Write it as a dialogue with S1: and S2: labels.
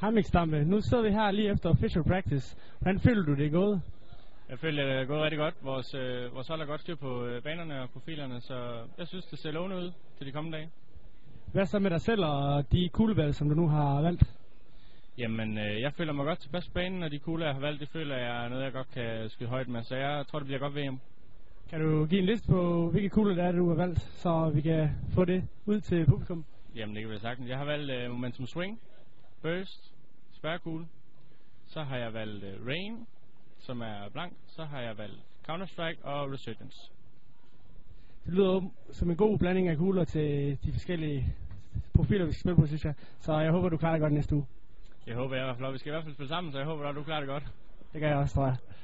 S1: Hamming Stampe, nu sidder vi her lige efter official practice. Hvordan føler du det er gået?
S2: Jeg føler, det er gået rigtig godt. Vores, øh, vores hold har godt styr på øh, banerne og profilerne, så jeg synes, det ser lovende ud til de kommende dage.
S1: Hvad så med dig selv og de kuglevalg, som du nu har valgt?
S2: Jamen, øh, jeg føler mig godt tilpas på banen, og de kugler, jeg har valgt, det føler jeg er noget, jeg godt kan skyde højt med, så jeg tror, det bliver godt VM.
S1: Kan du give en liste på, hvilke kugler det er, du har valgt, så vi kan få det ud til publikum?
S2: Jamen, det kan vi sagtens. Jeg har valgt øh, Momentum Swing, Burst, Spærkugle. Så har jeg valgt øh, Rain, som er blank. Så har jeg valgt Counter-Strike og Resurgence.
S1: Det lyder åben- som en god blanding af kugler til de forskellige profiler, vi skal spille på, synes jeg. Så jeg håber, du klarer det godt næste uge.
S2: Jeg håber, jeg i hvert fald, vi skal i hvert fald spille sammen, så jeg håber, at du klarer det godt.
S1: Det gør jeg også, tror jeg.